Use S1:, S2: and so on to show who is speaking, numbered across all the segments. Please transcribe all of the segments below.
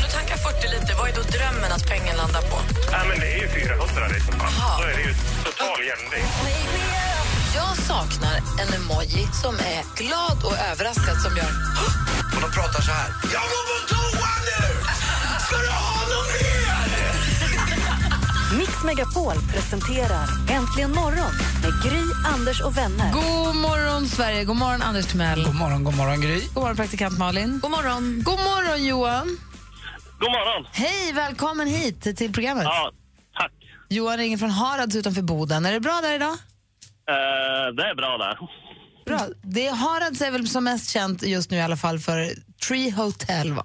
S1: du tankar 40 liter, vad är då drömmen att pengen landar på?
S2: Nej, men det är ju 400 liksom. Då är det ju total jämvikt.
S1: Jag saknar en emoji som är glad och överraskad som gör...
S3: Och de pratar så här. Jag går på toa nu! Ska du ha något mer?
S4: Mix Megapol presenterar Äntligen morgon med Gry, Anders och vänner.
S5: God morgon, Sverige. God morgon, Anders Timell. God morgon, god morgon, Gry. God morgon, praktikant Malin. God morgon. God morgon, Johan.
S2: God morgon!
S5: Hej, välkommen hit till programmet.
S2: Ja, tack.
S5: Johan ringer från Harads utanför Boden. Är det bra där idag?
S2: Eh, det är bra där.
S5: Bra. Det är Harads är väl som mest känt just nu i alla fall för Tree Hotel, va?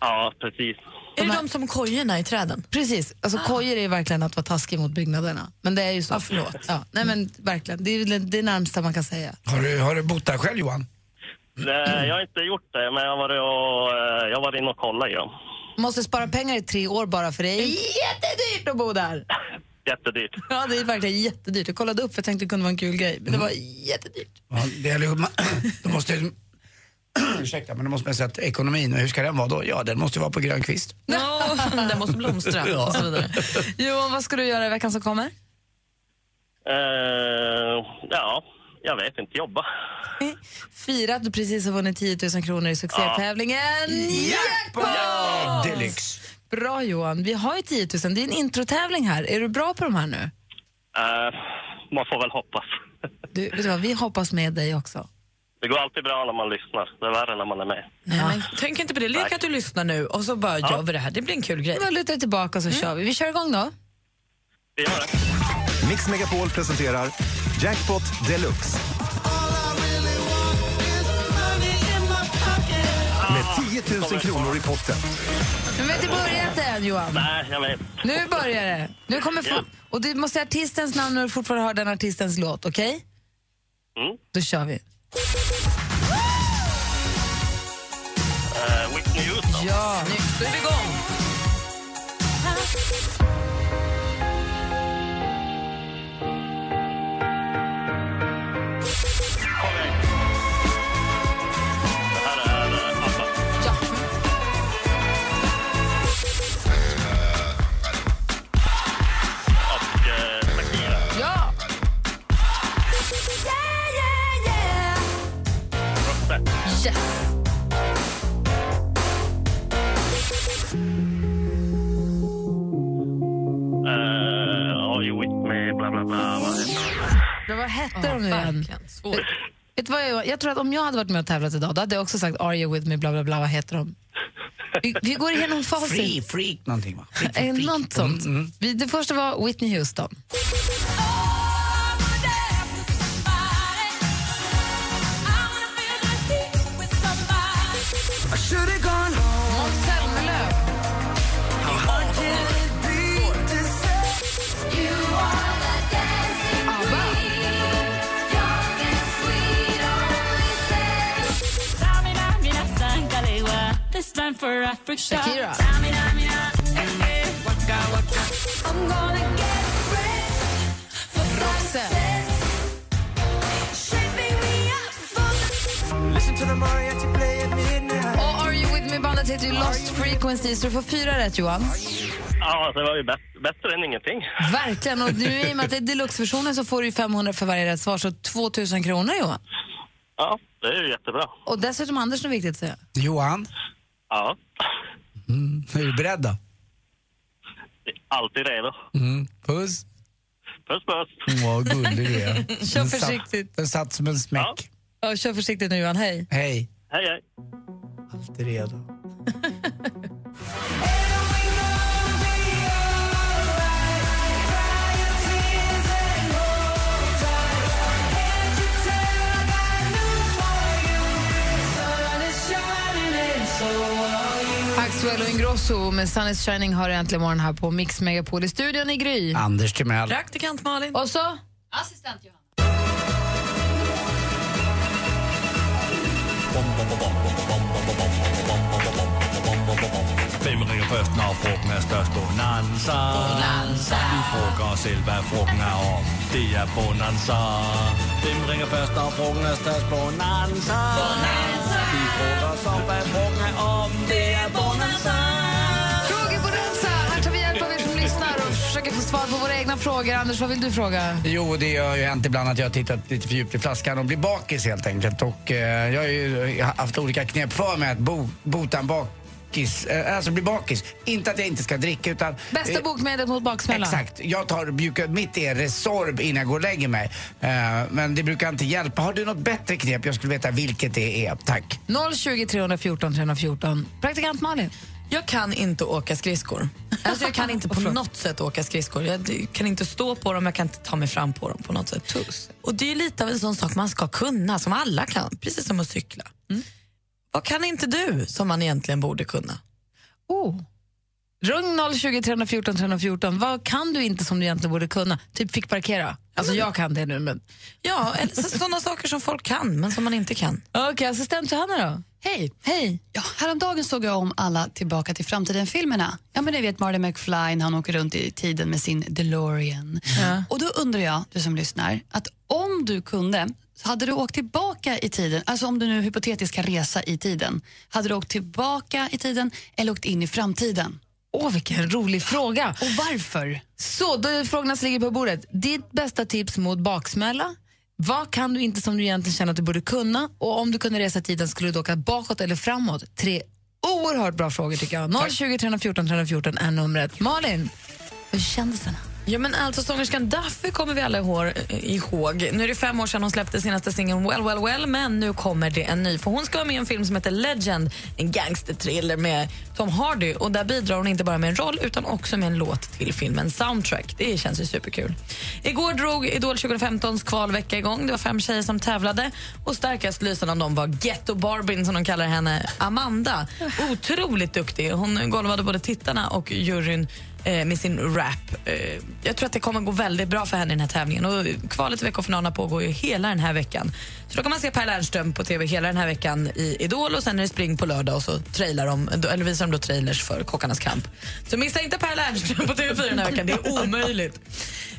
S2: Ja, precis.
S6: Är det de som kojorna i träden?
S5: Precis. Alltså
S1: Ah.
S5: kojor är ju verkligen att vara taskig mot byggnaderna. Men det är ju så.
S6: Ja, förlåt.
S5: Ja, nej men verkligen. Det är väl det närmsta man kan säga.
S7: Har du, har du bott där själv Johan?
S2: Eh, jag har inte gjort det, men jag har varit, och, eh, jag har varit inne och kollat i dem.
S5: Måste spara pengar i tre år bara för det är jättedyrt att bo där.
S2: Jättedyrt.
S5: Ja, det är verkligen jättedyrt. Jag kollade upp för jag tänkte det kunde vara en kul grej, men det var jättedyrt.
S7: Ja, det gäller ju, då måste ju, ursäkta, men då måste man säga att ekonomin, hur ska den vara då? Ja, den måste ju vara på grön kvist.
S6: No, den måste blomstra och så vidare.
S5: Johan, vad ska du göra i veckan som kommer?
S2: Eh, ja, jag vet inte. Jobba.
S6: Mm.
S5: Fira att du precis har vunnit 10 000 kronor i succétävlingen Jackpot!
S7: Deluxe.
S5: Bra Johan, vi har ju 10 000. Det är en introtävling här. Är du bra på de här nu?
S2: Eh, man får väl hoppas.
S5: Du, vet du vad, vi hoppas med dig också.
S2: Det går alltid bra när man lyssnar. Det är värre när man är med.
S6: Nej, men,
S5: Ah.
S6: tänk inte på det. Lek att du lyssnar nu och så bara gör vi det här. Det blir en kul grej. Mm.
S5: Då lutar vi tillbaka och så kör vi. Vi kör igång då.
S2: Vi gör det.
S8: Mix Megapol presenterar Jackpot Deluxe. Med 10 000 kronor i potten.
S5: Men vi har inte börjat än Johan.
S2: Nej, jag vet.
S5: Nu börjar det. Nu kommer få... Och du måste säga artistens namn när du fortfarande hör den artistens låt, okej?
S2: Mm.
S5: Då kör vi.
S2: Eh, Whitney Houston.
S5: Ja,
S6: Då är vi igång.
S2: Det här är eh, ABBA. Och eh, Shakira.
S5: ja.
S2: Roxette.
S5: Yes.
S2: Eh, Are you with me? Bla, bla, bla. Vad heter det?
S5: Men vad hette de nu igen?
S6: Verkligen. Svårt.
S5: Vet du vad jag, jag tror att om jag hade varit med och tävlat idag, då hade jag också sagt Are you with me, bla bla bla, vad heter de? Vi, vi går igenom
S7: Free,
S5: facit.
S7: freak någonting va? Freak,
S5: Eh,
S7: freak, freak. Mm,
S5: Något sånt.
S6: Mm,
S5: Vi, det första var Whitney Houston. Måns Zelmerlöw. ABBA. Shakira. Roxette. Och Are You With Me-bandet heter ju Lost Frequencies, så du får fyra rätt Johan.
S2: Ja, det var ju bäst, bättre än ingenting.
S5: Verkligen. Och nu i och med att det är deluxe-versionen så får du ju 500 för varje rätt svar, så 2000 kronor Johan.
S2: Ja, det är ju jättebra.
S5: Och dessutom Anders, något viktigt att säga.
S7: Johan,
S2: Ja,
S7: är du beredd då?
S2: det är alltid redo.
S7: Mm. Puss.
S2: Puss, puss.
S7: Vad gullig du är.
S5: Kör
S7: Den satt-
S5: försiktigt.
S7: Den satt som en
S2: Ja.
S7: smäck.
S5: Ja, kör försiktigt nu Johan, hej.
S7: Hej.
S2: Hej, hej.
S7: Alltid redo.
S5: Axwell Paolo Ingrosso med Sun is shining har du äntligen morgon här på Mix Megapol i studion i Gry.
S7: Anders Timell.
S5: Praktikant Malin. Och så? Assistent Johanna.
S9: Hvem ringer først, når frugten er størst? Bonanza. Bonanza. Vi frugger os selv, hvad frugten er om. Det er Bonanza. Hvem ringer først, når frugten er størst? Bonanza. Bonanza. Vi frugger os om, hvad frugten er om. Det er Bonanza.
S5: Frågebonanza! Här tar vi hjälp av er som lyssnar och försöker få svar på våra egna frågor. Anders, vad vill du fråga?
S7: Jo, det har ju hänt ibland att jag har tittat lite för djupt i flaskan och blir bakis helt enkelt. Och eh, jag har ju haft olika knep för mig att bo, bota en bakis, eh, alltså bli bakis. Inte att jag inte ska dricka utan... eh,
S5: Bästa bokmedlet mot baksmälla.
S7: Exakt. Jag tar mjuka, mitt är Resorb innan jag går och lägger mig. Eh, men det brukar inte hjälpa. Har du något bättre knep? Jag skulle veta vilket det är. Tack.
S5: 020 314 314. Praktikant Malin.
S6: Jag kan inte åka skridskor. Alltså jag kan inte på något sätt åka skridskor. Jag kan inte stå på dem, jag kan inte ta mig fram på dem på något sätt. Och det är lite av en sån sak man ska kunna, som alla kan. Precis som att cykla.
S1: Mm.
S6: Vad kan inte du som man egentligen borde kunna?
S5: Oh. Rung 020 314 314. Vad kan du inte som du egentligen borde kunna? Typ fick parkera. Alltså jag kan det nu men...
S6: Ja, eller så- sådana saker som folk kan, men som man inte kan.
S5: Okej, assistent Johanna då?
S10: Hej.
S5: Hej.
S10: Ja, häromdagen såg jag om alla Tillbaka till framtiden-filmerna. Ja, men ni vet Marty McFly när han åker runt i tiden med sin DeLorean. Och då undrar jag, du som lyssnar, att om du kunde, så hade du åkt tillbaka i tiden, alltså om du nu hypotetiskt kan resa i tiden, hade du åkt tillbaka i tiden eller åkt in i framtiden?
S5: Åh, vilken rolig fråga!
S10: Och varför?
S5: Så, då är frågorna som ligger på bordet. Ditt bästa tips mot baksmälla? Vad kan du inte som du egentligen känner att du borde kunna? Och om du kunde resa i tiden, skulle du åka bakåt eller framåt? Tre oerhört bra frågor tycker jag. 020 314 314 är numret. Malin, hur kändes den?
S6: Ja, men alltså sångerskan Duffy kommer vi alla ihåg, ihåg. Nu är det fem år sedan hon släppte senaste singeln Well Well Well, men nu kommer det en ny. För Hon ska vara med i en film som heter Legend, en gangsterthriller med Tom Hardy. Och Där bidrar hon inte bara med en roll utan också med en låt till filmen Soundtrack. Det känns ju superkul. Igår drog Idol 2015s kvalvecka igång. Det var fem tjejer som tävlade och starkast lysande av dem var Ghetto Barbin, som de kallar henne, Amanda. Otroligt duktig. Hon golvade både tittarna och juryn eh, med sin rap. Eh, jag tror att det kommer gå väldigt bra för henne i den här tävlingen. Och kvalet till veckofinalerna pågår ju hela den här veckan. Så då kan man se Per Lernström på tv hela den här veckan i Idol och sen är det spring på lördag och så trailar de, eller visar de då trailers för Kockarnas kamp. Så missa inte Per Lernström på TV4 den här veckan, det är omöjligt.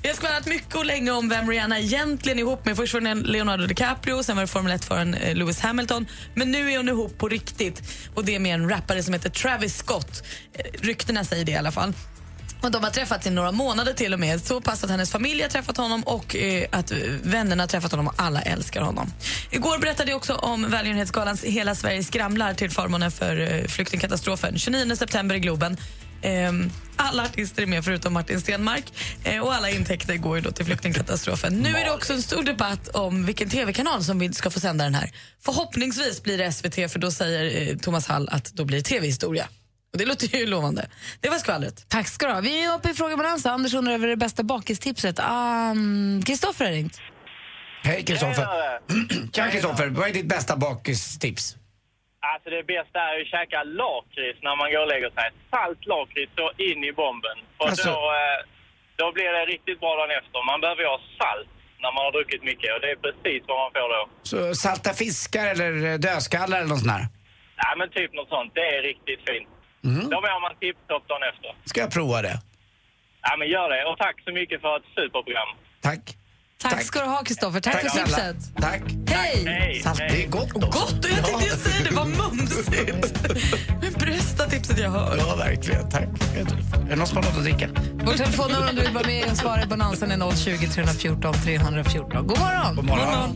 S6: Vi har skvallrat mycket och länge om vem Rihanna egentligen är ihop med. Först var det Leonardo DiCaprio, sen var det Formel 1-föraren eh, Lewis Hamilton. Men nu är hon ihop på riktigt och det är med en rappare som heter Travis Scott. Eh, Ryktena säger det i alla fall. Och de har träffats i några månader till och med. Så pass att hennes familj har träffat honom och eh, att eh, vännerna har träffat honom och alla älskar honom. Igår berättade jag också om välgörenhetsgalans Hela Sverige skramlar till förmånen för eh, flyktingkatastrofen. 29 september i Globen. Ehm, alla artister är med förutom Martin Stenmark eh, och alla intäkter går ju då till flyktingkatastrofen. Nu är det också en stor debatt om vilken tv-kanal som vi ska få sända den här. Förhoppningsvis blir det SVT för då säger eh, Thomas Hall att då blir det tv-historia. Och det låter ju lovande. Det var skvallret.
S5: Tack ska du ha. Vi är uppe i frågebalans. Anders undrar över det bästa bakistipset. Um, Kristoffer har ringt.
S7: Hej Kristoffer. Tja Kristoffer. Vad är ditt bästa bakistips?
S11: Alltså det bästa är ju att käka lakrits när man går och lägger sig. Salt lakrits så in i bomben. För
S7: Alltså-
S11: då, eh, då blir det riktigt bra dagen efter. Man behöver ju ha salt när man har druckit mycket och det är precis vad man får då.
S7: Så salta fiskar eller eh, dödskallar eller något sånt där?
S11: Nej men typ något sånt. Det är riktigt fint.
S7: Mm.
S11: Då mår man tipptopp dagen efter.
S7: Ska jag prova det?
S11: Ja men gör det. Och tack så mycket för ett superprogram.
S5: Tack, ska du ha, Kristoffer. Tack,
S11: Tack
S5: för
S11: snälla.
S5: tipset.
S7: Tack.
S5: Hej!
S7: Salt, det är gott också.
S6: Gott! och Jag tänkte jag säga det, vad mumsigt! Det är bästa tipset jag hör.
S7: Ja, verkligen. Tack. Är det någon som har något att dricka?
S5: Vårt telefonnummer om du vill vara med och svara i bonansen är 020 314 314. God morgon!
S7: God morgon.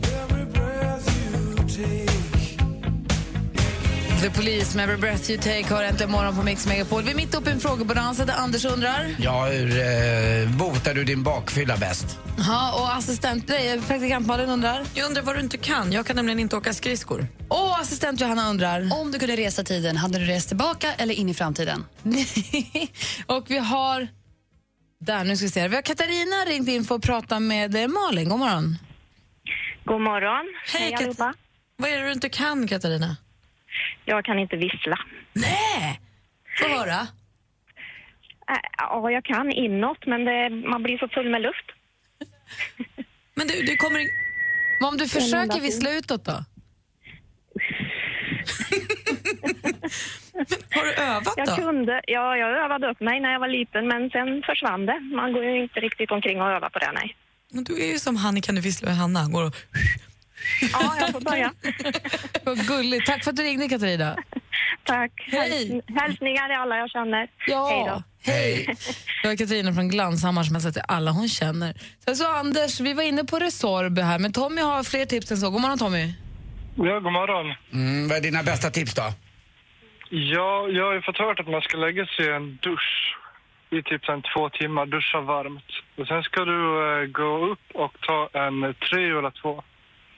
S5: The Police med Every Breath You Take har äntligen morgon på Mix Megapol. Vi är mitt uppe i en frågebalans där Anders undrar.
S7: Ja, hur eh, botar du din bakfylla bäst?
S5: Ja, och assistent, nej, praktikant Malin undrar.
S6: Jag undrar vad du inte kan. Jag kan nämligen inte åka skridskor.
S5: Och assistent Johanna undrar.
S10: Om du kunde resa i tiden, hade du rest tillbaka eller in i framtiden?
S5: och vi har... Där, nu ska vi se. här. Vi har Katarina ringt in för att prata med eh, Malin. God morgon.
S12: God morgon.
S6: Hej, Kat- Vad är det du inte kan, Katarina?
S12: Jag kan inte vissla.
S6: Nej! Få höra.
S12: Ä- Äh, Ja, jag kan inåt, men det, man blir så full med luft.
S6: Men du, du kommer... in-
S5: Men om du försöker vissla utåt då?
S6: Har du övat
S12: jag
S6: då?
S12: Kunde, ja, jag övade upp mig när jag var liten, men sen försvann det. Man går ju inte riktigt omkring och övar på det, nej.
S6: Men du är ju som han i Kan du vissla med Hanna. Går och...
S12: Ja, jag får börja.
S5: Vad gulligt. Tack för att du ringde, Katarina.
S12: Tack. Hej. Hälsningar till alla jag känner.
S5: Ja.
S12: Hej då.
S5: Hej. Det var Katarina från Glanshammar som har sett till alla hon känner. Sen så Anders, vi var inne på Resorb här, men Tommy har fler tips än så. God morgon Tommy.
S13: Ja, god morgon.
S7: Mm, vad är dina bästa tips då?
S13: Ja, jag har ju fått hört att man ska lägga sig i en dusch i typ sen två timmar, duscha varmt. Och sen ska du eh, gå upp och ta en tre eller två.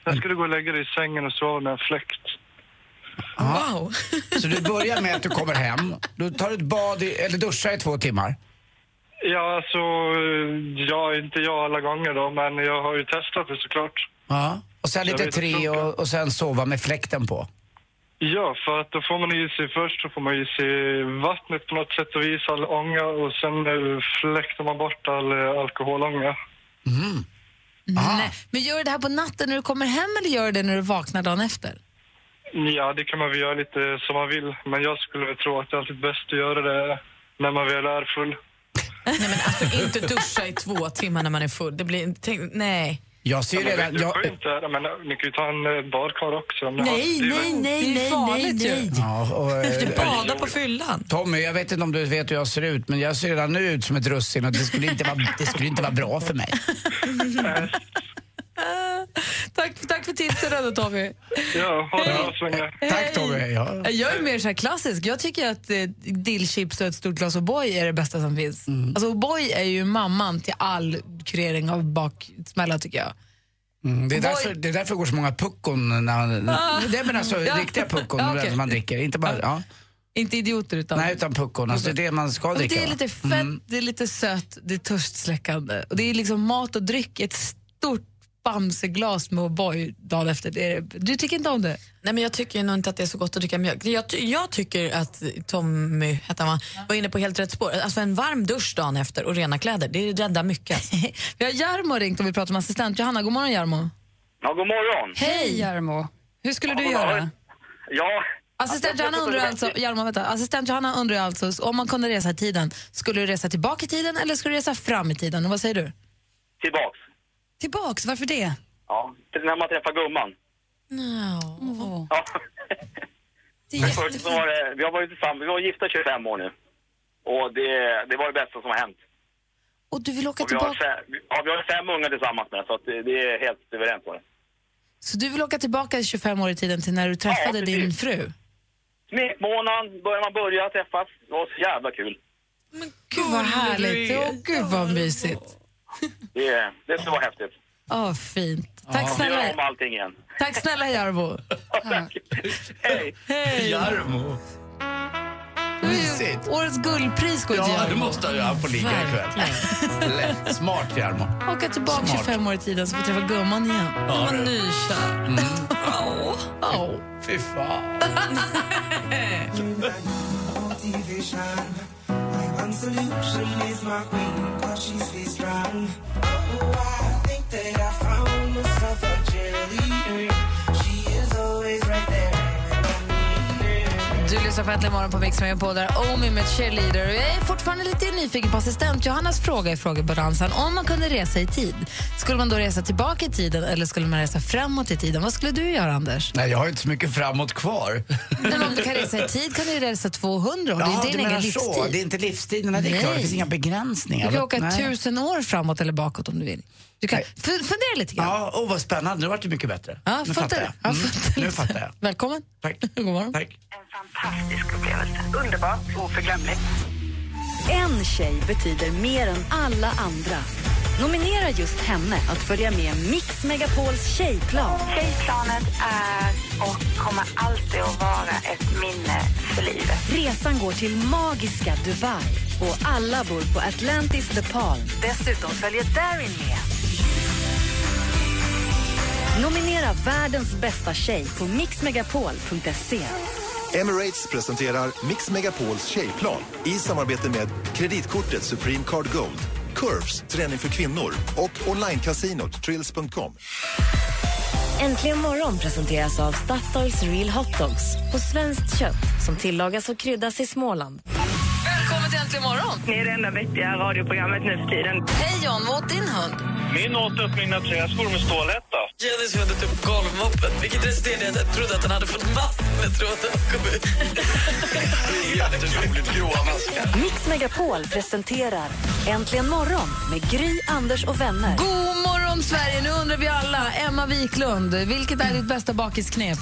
S13: Sen ska du gå och lägga dig i sängen och sova med en fläkt.
S5: Ah.
S6: Wow.
S7: Så du börjar med att du kommer hem, du tar ett bad i, eller duschar i två timmar.
S13: Ja, alltså, eh, ja, inte jag alla gånger då, men jag har ju testat det såklart.
S7: Ja. Och sen
S13: Jag
S7: lite
S13: vet att det
S7: tre
S13: funkar.
S7: och, och sen sova med fläkten på.
S13: Ja, för att då får man i sig först så får man i sig vattnet på något sätt och vis, all ånga och sen eh, fläktar man bort all eh, alkoholånga.
S5: Nej. Men gör du det här på natten när du kommer hem eller gör du det när du vaknar dagen efter?
S13: Ja, det kan man väl göra lite som man vill, men jag skulle väl tro att det är alltid bäst att göra det när man väl är full.
S6: Alltså, inte duscha i två timmar när man är full. Det blir... Tänk, nej.
S7: Jag ser ju
S13: Ja, men
S7: redan...
S13: vet du,
S7: Jag,
S13: får inte, ja, men, eh, ni kan ju ta en eh, badkar också. om ni har-
S6: Nej,
S13: det är väl-
S6: nej, nej, nej, nej, nej.
S7: Ja, och,
S6: Du
S7: eh,
S6: badar på fyllan.
S7: Tommy, jag vet inte om du vet hur jag ser ut, men jag ser redan nu ut som ett russin och det skulle inte vara, det skulle inte vara bra för mig.
S5: Tack, tack för tipsen ändå Tommy.
S13: Ja, ha det bra så länge.
S7: Tack Tommy. Ja.
S5: Jag är mer så här klassisk. Jag tycker att eh, dillchips och ett stort glas O'boy är det bästa som finns.
S7: Mm.
S5: Alltså O'boy är ju mamman till all kurering av baksmälla tycker jag.
S7: Mm, det, är
S5: Voi-
S7: därför, det är därför det går så många puckon. När,
S5: Ah.
S7: det men alltså
S5: Ja.
S7: riktiga puckon
S5: Ja, okej.
S7: som man dricker. Inte bara, ja.
S5: Inte idioter utan...
S7: Nej, utan puckon. Alltså, det är det man ska
S5: Ja, men
S7: dricka.
S5: det är
S7: va?
S5: lite fett,
S7: Mm.
S5: det är lite sött, det är törstsläckande. Och det är liksom mat och dryck i ett stort bamseglas med O'boy dagen efter. Det är, du tycker inte om det?
S6: Nej, men jag tycker ju nog inte att det är så gott att dricka mjölk. Jag, ty- jag tycker att Tommy hette han, va? var inne på helt rätt spår. Alltså en varm dusch dagen efter och rena kläder, det räddar mycket.
S5: Vi har Jarmo ringt och vi pratar med assistent Johanna. God morgon Jarmo.
S14: Ja, god morgon.
S5: Hej Jarmo. Hur skulle du
S14: Ja,
S5: göra?
S14: Ja.
S5: Assistent Johanna undrar alltså, Jarmo, vänta. Assistent Johanna undrar alltså, om man kunde resa i tiden, skulle du resa tillbaka i tiden eller skulle du resa fram i tiden? Och vad säger du?
S14: Tillbaks.
S5: Tillbaks, varför det?
S14: Ja, till när man träffar gumman.
S5: No.
S14: Ja. Men först så var det, vi har varit tillsammans, vi var gifta 25 år nu. Och det, det var det bästa som har hänt.
S5: Och du vill åka
S14: Och vi, har
S5: tillbaka,
S14: fem, ja, vi har fem unga tillsammans med så att det, det är helt överens med det.
S5: så du vill åka tillbaka 25 år i tiden till när du träffade
S14: precis.
S5: din fru?
S14: Smekmånaden, börjar man börja träffas. Det var så jävla kul.
S5: Gud vad härligt. Åh, gud vad mysigt.
S14: Det, det skulle vara häftigt.
S5: Åh, fint. Tack
S14: Vi gör om
S5: snälla,
S14: allting igen.
S5: tack snälla Jarbo.
S14: Hej!
S5: Hej.
S15: Jarmo.
S7: Mysigt.
S5: Årets guldpris går till
S7: Ja, det
S5: Jarmo.
S7: måste jag göra. Han får ligga ikväll. Lätt. Smart Jarmo.
S5: Åka tillbaka
S7: Smart.
S5: 25 år i tiden så får vi träffa gumman igen.
S7: Ja, du.
S5: nykär.
S7: Mm.
S5: Åh.
S7: Fy fan.
S5: Du lyssnar på Äntligen morgon på Mix på där Omi med cheerleader. Och Jag är fortfarande lite nyfiken på assistent Johannas fråga i frågebalansen. Om man kunde resa i tid, skulle man då resa tillbaka i tiden eller skulle man resa framåt i tiden? Vad skulle du göra, Anders?
S7: Nej, jag har inte så mycket framåt kvar.
S5: Men om du kan resa i tid kan du ju resa 200 år.
S7: Ja,
S5: det är
S7: du
S5: din egen
S7: menar så.
S5: livstid.
S7: Det är inte livstiden, nej, det är
S5: Nej.
S7: klart. Det finns inga begränsningar.
S5: Du kan åka
S7: Nej.
S5: tusen år framåt eller bakåt om du vill. Du kan f- fundera lite grann.
S7: Ja, oh, vad spännande. Nu vart det mycket bättre.
S5: Ja,
S7: nu
S5: fattar
S7: fattar
S5: du?
S7: jag.
S5: Ja,
S7: Mm,
S5: fattar
S7: nu
S5: lite.
S7: fattar jag.
S5: Välkommen.
S7: Tack.
S5: God morgon.
S7: Tack.
S4: Underbart, oförglömligt.
S1: En tjej betyder mer än alla andra.
S4: Nominera just henne att följa med Mix Megapols tjejplan.
S12: Tjejplanet är och kommer alltid att vara ett minne för livet.
S4: Resan går till magiska Dubai och alla bor på Atlantis The Palm.
S1: Dessutom följer Darin med.
S4: Nominera världens bästa tjej på mixmegapol.se.
S8: Emirates presenterar Mix Megapols tjejplan i samarbete med kreditkortet Supreme Card Gold, Curves, träning för kvinnor och onlinekasinot Trills.com.
S4: Äntligen morgon presenteras av Statoils Real Hot Dogs på svenskt kött som tillagas och kryddas i Småland.
S1: Välkommen till Äntligen morgon!
S12: Ni är det enda vettiga radioprogrammet nu för tiden.
S1: Hej John, vad åt din hund?
S11: Min åt upp mina träskor med stålhätta.
S15: Jennys hund åt upp golvmoppen, vilket resulterade i att jag trodde att han hade fått massor med trådar och kom ut.
S3: Jätteroligt gråa maskar.
S4: Mix Megapol presenterar Äntligen morgon med Gry, Anders och vänner.
S5: God morgon, Sverige! Nu undrar vi alla, Emma Wiklund, vilket är ditt bästa bakisknep?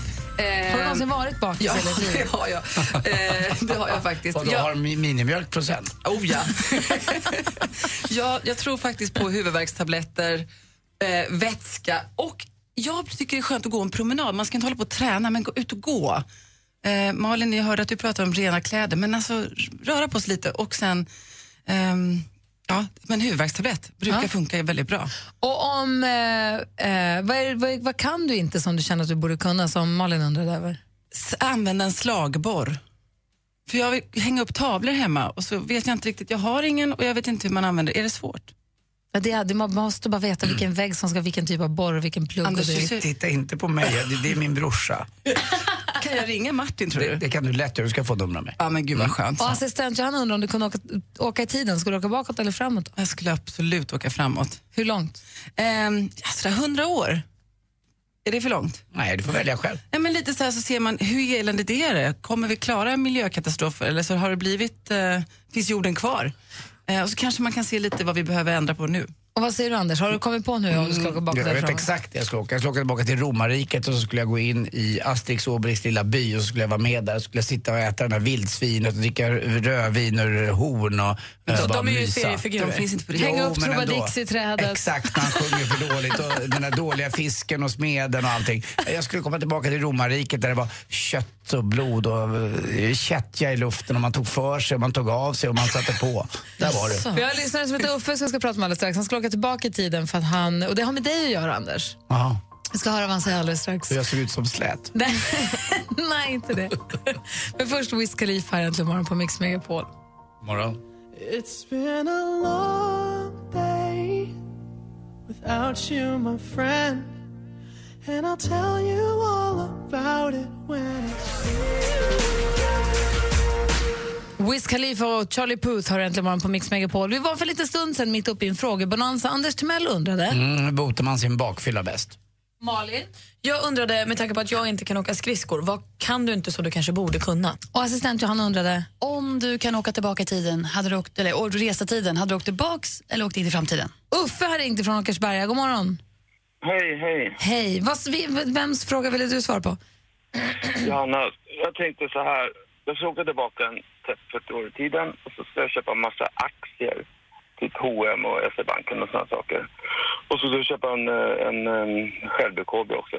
S5: Har du någonsin varit bakis?
S15: Ja,
S5: eller
S15: det har jag. Eh, det har jag faktiskt.
S7: Och då
S15: Jag-
S7: har mi- minimjölkprocent.
S15: Oh ja. jag, jag tror faktiskt på huvudvärkstabletter, eh, vätska och jag tycker det är skönt att gå en promenad. Man ska inte hålla på och träna, men gå ut och gå. Eh, Malin, jag hörde att du pratade om rena kläder, men alltså r- röra på sig lite och sen ehm, Ja, men huvudvärkstablett brukar funka väldigt bra.
S5: Och om, eh, eh, vad, är, vad, vad kan du inte som du känner att du borde kunna, som Malin undrade över?
S15: S- Använda en slagborr. För jag vill hänga upp tavlor hemma och så vet jag inte riktigt, jag har ingen och jag vet inte hur man använder. Är det svårt?
S5: Ja, det är, det- man måste bara veta vilken vägg som ska, vilken typ av borr och vilken plugg.
S15: Anders,
S5: och det.
S15: du ser-
S7: Titta inte på mig, det, det är min brorsa.
S15: Kan jag ringa Martin tror
S7: Det, det kan du lätt göra, du ska få numret med.
S15: Ja men gud vad skönt.
S5: Och assistent Johanna undrar om du kunde åka, åka i tiden, skulle du åka bakåt eller framåt?
S15: Jag skulle absolut åka framåt.
S5: Hur långt?
S15: Ehm, alltså, 100 år. Är det för långt?
S7: Nej, du får välja själv.
S15: Nej, men lite så här så ser man, hur eländigt är det? Kommer vi klara miljökatastrofer eller så har det blivit, eh, finns jorden kvar? Eh, och så kanske man kan se lite vad vi behöver ändra på nu.
S5: Och vad säger du Anders, har du kommit på nu om du ska åka bakåt
S7: Mm, jag
S5: eller
S7: vet
S5: framåt?
S7: exakt det jag skulle åka. Jag skulle åka tillbaka till romarriket och så skulle jag gå in i Asterix och Obelix lilla by och så skulle jag vara med där och skulle jag sitta och äta den där vildsvinet och dricka rödvin ur horn och
S15: Men
S7: eh,
S15: de-
S7: bara
S15: de är ju
S7: mysa.
S15: seriefigurer. De finns inte på riktigt.
S7: Jo,
S5: Hänga upp
S7: men ändå.
S5: Trubadix i trädet.
S7: Exakt, man sjunger för dåligt och den där dåliga fisken och smeden och allting. Jag skulle komma tillbaka till romarriket där det var kött och blod och eh, kättja i luften och man tog för sig och man tog av sig och man satte på. Där var det.
S5: Vi har en lyssnare som heter Uffe som jag ska prata med alldeles strax. Han ska åka tillbaka i tiden för att han, och det har med dig att göra Anders.
S7: Jaha,
S5: Vi ska höra vad han säger alldeles strax.
S7: så jag såg ut som slät.
S5: Nej, nej, inte det. Men först Wiz Khalifa här äntligen morgon på Mix Megapol.
S7: Morgon.
S16: It's been a long day without you, my friend. And I'll tell you all about it when it's
S5: Wiz Khalifa och Charlie Puth har äntligen morgon på Mix Megapol. Vi var för lite stund sedan mitt uppe i en frågebonanza. Anders Timell undrade.
S7: Mm, hur botar man sin bakfylla bäst?
S6: Malin? Jag undrade, med tanke på att jag inte kan åka skridskor, vad kan du inte som du kanske borde kunna?
S5: Och assistent Johanna undrade.
S10: Om du kan åka tillbaka i tiden, hade du åkt, eller och resa tiden, hade du åkt tillbaks eller åkt in i framtiden?
S5: Uffe har ringt ifrån Åkersberga. God morgon.
S17: Hej, hej.
S5: Hej. Vad, vi- vems fråga ville du svara på?
S17: Johanna, jag tänkte så här. Jag ska åka tillbaka en 30-40 år i tiden och så ska jag köpa en massa aktier. Typ H&M och SE-banken och såna saker. Och så ska jag köpa en, eh, en, en självbekobe också.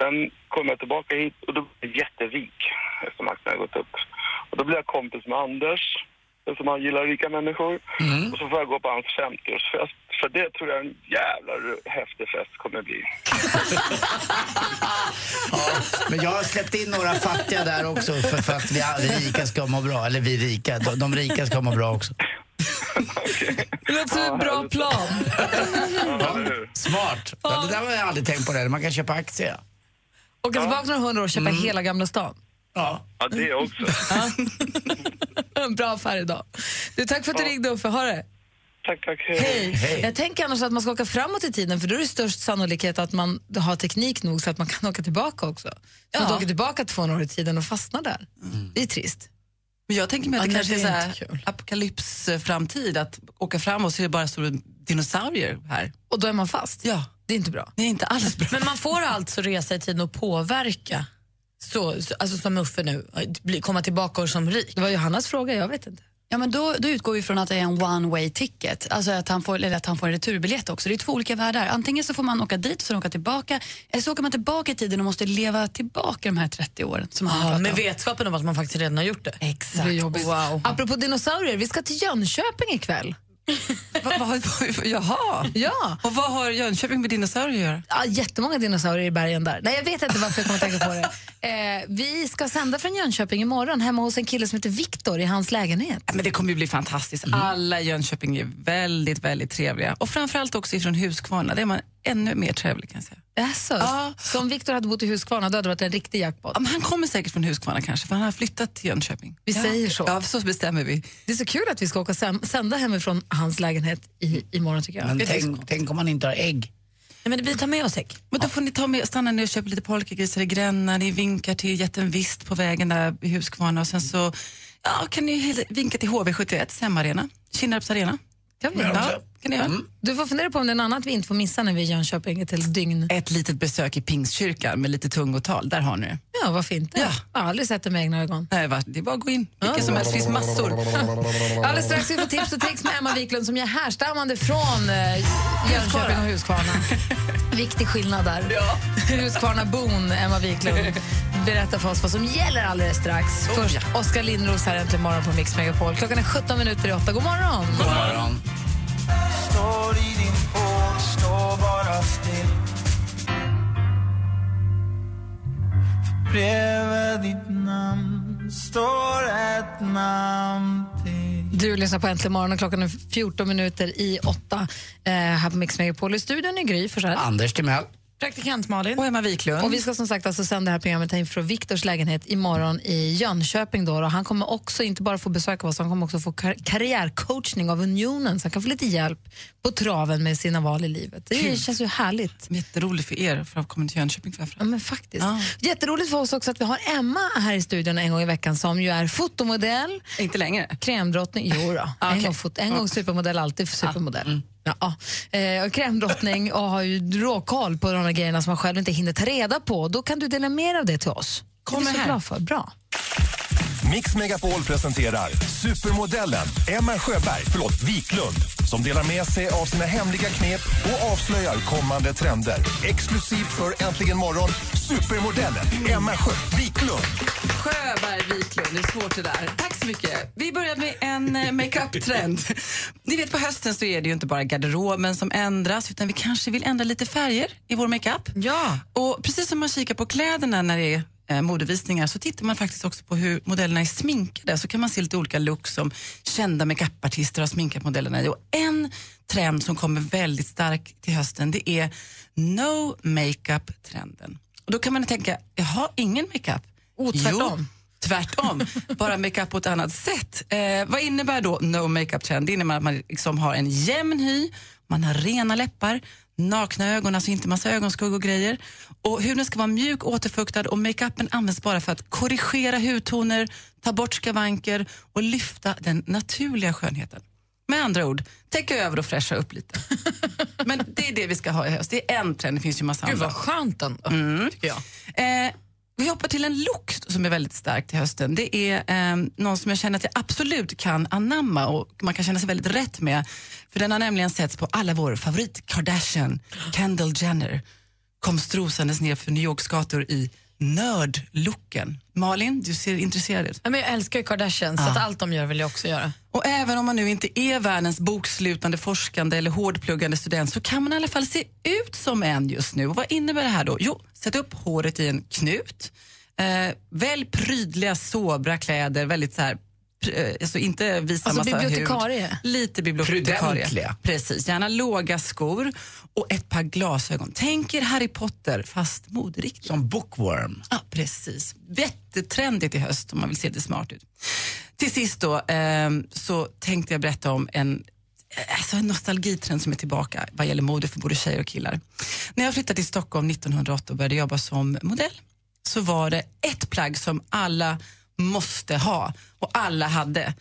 S17: Sen kommer jag tillbaka hit och då blir jag jätterik eftersom aktien har gått upp. Och då blir jag kompis med Anders eftersom han gillar rika människor. Och så får jag gå på hans 50-årsfest. För det tror jag är en jävla häftig fest kommer det bli.
S7: Men jag har släppt in några fattiga där också för, för att vi vi rika ska må bra. Eller vi rika, de, de rika ska må bra också.
S5: Det låter som en bra plan.
S7: Smart! Ja, det där har jag aldrig tänkt på. Det. Man kan köpa aktier.
S5: Åka tillbaka några hundra år och köpa hela Gamla stan.
S7: Ja.
S17: Ja, det också.
S5: En bra affär idag. Du, tack för att du ringde Uffe. Ha det.
S17: Tack, tack.
S5: Hej. Jag tänker annars att man ska åka framåt i tiden för då är det störst sannolikhet att man har teknik nog så att man kan åka tillbaka också. Så att du åker tillbaka 200 år i tiden och fastnar där. Det är trist.
S15: Mm. Men jag tänker mig att
S5: Ja,
S15: det
S5: nej,
S15: kanske är,
S5: det
S15: så
S5: är
S15: här apokalypsframtid, att åka fram och så är det bara stora dinosaurier här.
S5: Och då är man fast?
S15: Ja.
S5: Det är inte bra.
S15: Det är inte alls bra.
S6: Men man får alltså resa i tiden och påverka, så, så, alltså som Uffe nu, bli- komma tillbaka och som rik.
S5: Det var Johannas fråga, jag vet inte.
S10: Ja, men då, då utgår vi från att det är en one way ticket, alltså att han får, eller att han får en returbiljett också. Det är två olika världar. Antingen så får man åka dit och sen åka tillbaka, eller så åker man tillbaka i tiden och måste leva tillbaka de här 30 åren som han har pratat
S6: Ja,
S10: om.
S6: med vetskapen om att man faktiskt redan har gjort det.
S10: Exakt.
S6: Wow.
S5: Apropå dinosaurier, vi ska till Jönköping ikväll.
S15: vad, vad, vad, jaha.
S5: Ja.
S15: Och vad har Jönköping med dinosaurier att göra?
S5: Ja, jättemånga dinosaurier i bergen där. Nej, jag vet inte varför jag kommer att tänka på det. Eh, vi ska sända från Jönköping imorgon hemma hos en kille som heter Viktor i hans lägenhet. Mm.
S15: Ja, Men det kommer ju bli fantastiskt. Alla i Jönköping är väldigt, väldigt trevliga. Och framförallt också ifrån Huskvarna. Där är man ännu mer trevlig kan jag säga.
S5: Alltså, Så om Viktor hade bott i Huskvarna då hade det varit en riktig jackpot.
S15: Ja, men han kommer säkert från Huskvarna kanske, för han har flyttat till Jönköping.
S5: Vi
S15: ja.
S5: säger så.
S15: Ja, så bestämmer vi.
S5: Det är så kul att vi ska åka säm- sända hemifrån hans lägenhet i, imorgon tycker jag.
S7: Men tänk, tänk om man inte har ägg.
S6: Nej, men det blir ta med oss ägg.
S15: Men då får ni ta med, stanna ner och köpa lite polkagrisar i Gränna, ni vinkar till jätten Vist på vägen där i Huskvarna och sen så ja, kan ni hel- vinka till HV71, SEM Arena, Kinnarps Arena.
S5: Kan vi? Mm.
S15: Ja, kan ni göra.
S5: Du får fundera på om det är något annat vi inte får missa när vi är i Jönköping ett helt dygn.
S15: Ett litet besök i Pingstkyrkan med lite tungotal, där har ni det.
S5: Ja, varför inte? Ja. Jag har aldrig sett det med egna ögon.
S15: Nej, va? Det är bara att gå in, vilken som helst, finns massor.
S5: Alldeles strax ska vi få tips och tricks med Emma Wiklund som är härstammande från eh, Jönköping och Huskvarna. Viktig skillnad där. Ja. Huskvarnabon Emma Wiklund berättar för oss vad som gäller alldeles strax. Först Oskar Lindros här äntligen morgon på Mix Megapol. Klockan är 17 minuter i 8. God morgon!
S7: God morgon.
S3: Står i din port, står bara still För Bredvid ditt namn står ett namn
S5: Du lyssnar på Äntligen morgon och klockan är 14 minuter i 8 eh, här på Mix Megapol. I studion är Gry Forssell.
S7: Anders Timell.
S5: Praktikant Malin.
S15: Och Emma Wiklund.
S5: Och vi ska som sagt alltså sända det här programmet här från Viktors lägenhet imorgon i Jönköping. Då, och han kommer också inte bara få besöka oss, han kommer också få kar- karriärcoachning av Unionen så han kan få lite hjälp på traven med sina val i livet. Det
S15: Kul.
S5: känns ju härligt.
S15: Jätteroligt för er för att komma till Jönköping framförallt.
S5: Ja, men faktiskt. Jätteroligt för oss också att vi har Emma här i studion en gång i veckan som ju är fotomodell.
S15: Inte längre?
S5: Krämdrottning. Jo då. en, gång fot- en gång supermodell, alltid supermodell.
S6: Mm.
S5: Ja, ja. Eh, och krämdrottning och har ju råkoll på de här grejerna som man själv inte hinner ta reda på. Då kan du dela med dig av det till oss. Kom det är vi så
S8: här.
S5: glad för. Bra.
S8: Mix Megapol presenterar supermodellen Emma Sjöberg, förlåt, Wiklund som delar med sig av sina hemliga knep och avslöjar kommande trender. Exklusivt för Äntligen morgon, supermodellen Emma Sjö Wiklund.
S15: Sjöberg, Wiklund, det är svårt det där. Tack så mycket. Vi börjar med en eh, makeup-trend. Ni vet på hösten så är det ju inte bara garderoben som ändras utan vi kanske vill ändra lite färger i vår makeup.
S6: Ja.
S15: Och precis som man kikar på kläderna när det är eh, modevisningar så tittar man faktiskt också på hur modellerna är sminkade så kan man se lite olika looks som kända makeupartister har sminkat modellerna i. Och en trend som kommer väldigt stark till hösten det är no makeup-trenden. Och då kan man tänka, jaha, ingen makeup?
S5: Oh, tvärtom.
S15: Jo, tvärtom, bara makeup på ett annat sätt. Eh, vad innebär då no makeup-trend? Det innebär att man liksom har en jämn hy, man har rena läppar, nakna ögon, alltså inte massa ögonskugga och grejer. Och huden ska vara mjuk, återfuktad och makeupen används bara för att korrigera hudtoner, ta bort skavanker och lyfta den naturliga skönheten. Med andra ord, täcka över och fräscha upp lite. Men det är det vi ska ha i höst. Det är en trend, det finns ju massa
S6: Gud,
S15: andra.
S6: vad skönt ändå,
S15: Mm.
S6: tycker jag.
S15: Eh, vi hoppar till en look som är väldigt stark till hösten. Det är eh, någon som jag känner att jag absolut kan anamma och man kan känna sig väldigt rätt med. För den har nämligen setts på alla vår favorit Kardashian, Kendall Jenner. Kom strosandes ner för New Yorks gator i nördlooken. Malin, du ser intresserad ut.
S6: Ja, men jag älskar ju Kardashian, så
S15: Ja.
S6: att allt de gör vill jag också göra.
S15: Och även om man nu inte är världens bokslutande forskande eller hårdpluggande student så kan man i alla fall se ut som en just nu. Och vad innebär det här då? Jo, sätt upp håret i en knut. Eh, välj prydliga, sobra kläder. Väldigt så här, pr- eh, alltså inte visa
S5: Alltså
S15: massa
S5: bibliotekarie.
S15: hud. Lite bibliotekarie.
S7: Prudentliga.
S15: Precis, gärna låga skor och ett par glasögon. Tänk er Harry Potter fast moderiktigt.
S7: Som bookworm.
S15: Ja, precis. Jättetrendigt i höst om man vill se lite smart ut. Till sist då, ehm, så tänkte jag berätta om en, eh, alltså en nostalgitrend som är tillbaka vad gäller mode för både tjejer och killar. När jag flyttade till Stockholm 1908 och började jobba som modell så var det ett plagg som alla måste ha och alla hade.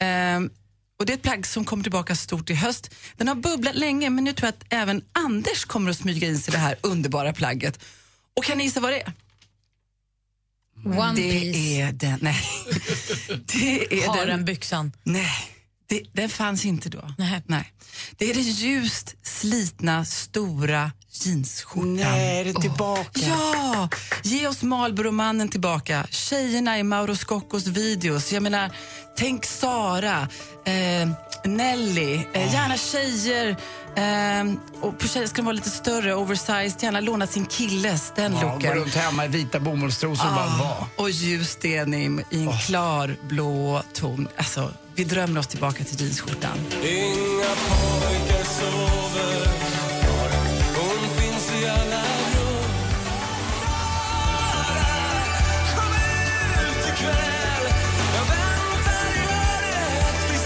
S15: Ehm, och Det är ett plagg som kommer tillbaka stort i höst. Den har bubblat länge men nu tror jag att även Anders kommer att smyga in sig i det här underbara plagget. Och kan ni gissa vad det är?
S6: One
S15: det
S6: Piece.
S15: är den, nej. Det är
S6: Har
S15: den
S6: den byxan.
S15: Nej, det, den fanns inte då.
S6: Nej.
S15: Det är den ljust slitna, stora jeansskjortan.
S3: Nej, är det tillbaka?
S15: Ja! Ge oss Marlboro-mannen tillbaka. Tjejerna i Mauro Scoccos videos. Jag menar, tänk Sara, eh, Nelly, eh, gärna tjejer. Eh, och på tjejer ska de vara lite större, oversized, gärna låna sin killes, den
S7: Ja, gå
S15: looken.
S7: runt hemma i vita bomullstrosor och
S15: Ah.
S7: bara vara.
S15: och ljus denim i en klar blå ton. Alltså, vi drömmer oss tillbaka till jeansskjortan.
S3: Inga pojkar sover Hon finns i alla rum Kom ut ikväll Jag väntar i öret vid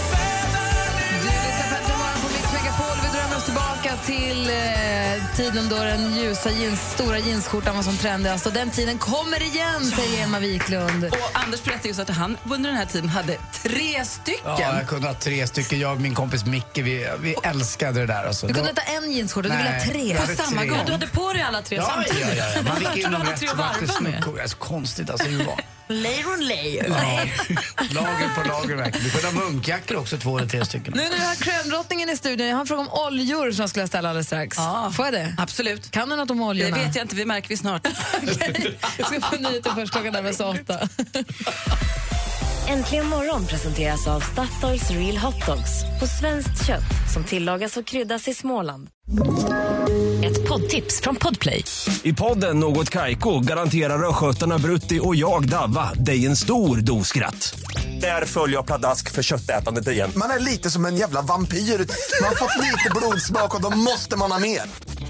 S5: Du lyssnar på Äntligen morgon på Mix Megapol. Vi drömmer oss tillbaka till eh, tiden då den ljusa jeans, stora jeansskjortan var som trendigast. Och den tiden kommer igen, säger Emma Wiklund.
S15: Och Anders berättade just att han under den här tiden hade tre stycken.
S7: Ja, jag kunde ha tre stycken. Jag och min kompis Micke, vi, vi älskade det där. Alltså.
S5: Du kunde inte
S7: Då-
S5: ha en jeansskjorta, du
S7: Nej,
S5: ville ha
S7: jag
S5: tre.
S7: hade tre.
S6: Du hade på dig alla tre
S7: ja,
S6: samtidigt.
S7: Ja, ja, ja. Man
S6: Jag
S7: fick
S6: tror
S7: in
S6: du
S7: dem
S6: hade
S7: rätt.
S6: tre
S7: så vart det
S6: varvar med.
S7: snuckor. Alltså, konstigt alltså hur det var.
S6: Leiron Leir.
S7: Lager på lager verkligen. Du kunde ha munkjackor också, två eller tre stycken.
S5: Nu när vi har kröndrottningen i studion, jag har en fråga om oljor som jag skulle ställa alldeles strax. Får jag det? Absolut. Kan du något om oljorna?
S15: Det vet jag inte, vi märker vi snart.
S5: Jag ska få nyheter först klockan närmar sig åtta.
S4: Äntligen morgon presenteras av Statoils Real Hot Dogs på svenskt kött som tillagas och kryddas i Småland. Ett poddtips från Podplay.
S18: I podden Något Kaiko garanterar östgötarna Brutti och jag, Davva, dig en stor dos skratt. Där följer jag pladask för köttätandet igen.
S3: Man är lite som en jävla vampyr. Man har fått lite blodsmak och då måste man ha mer.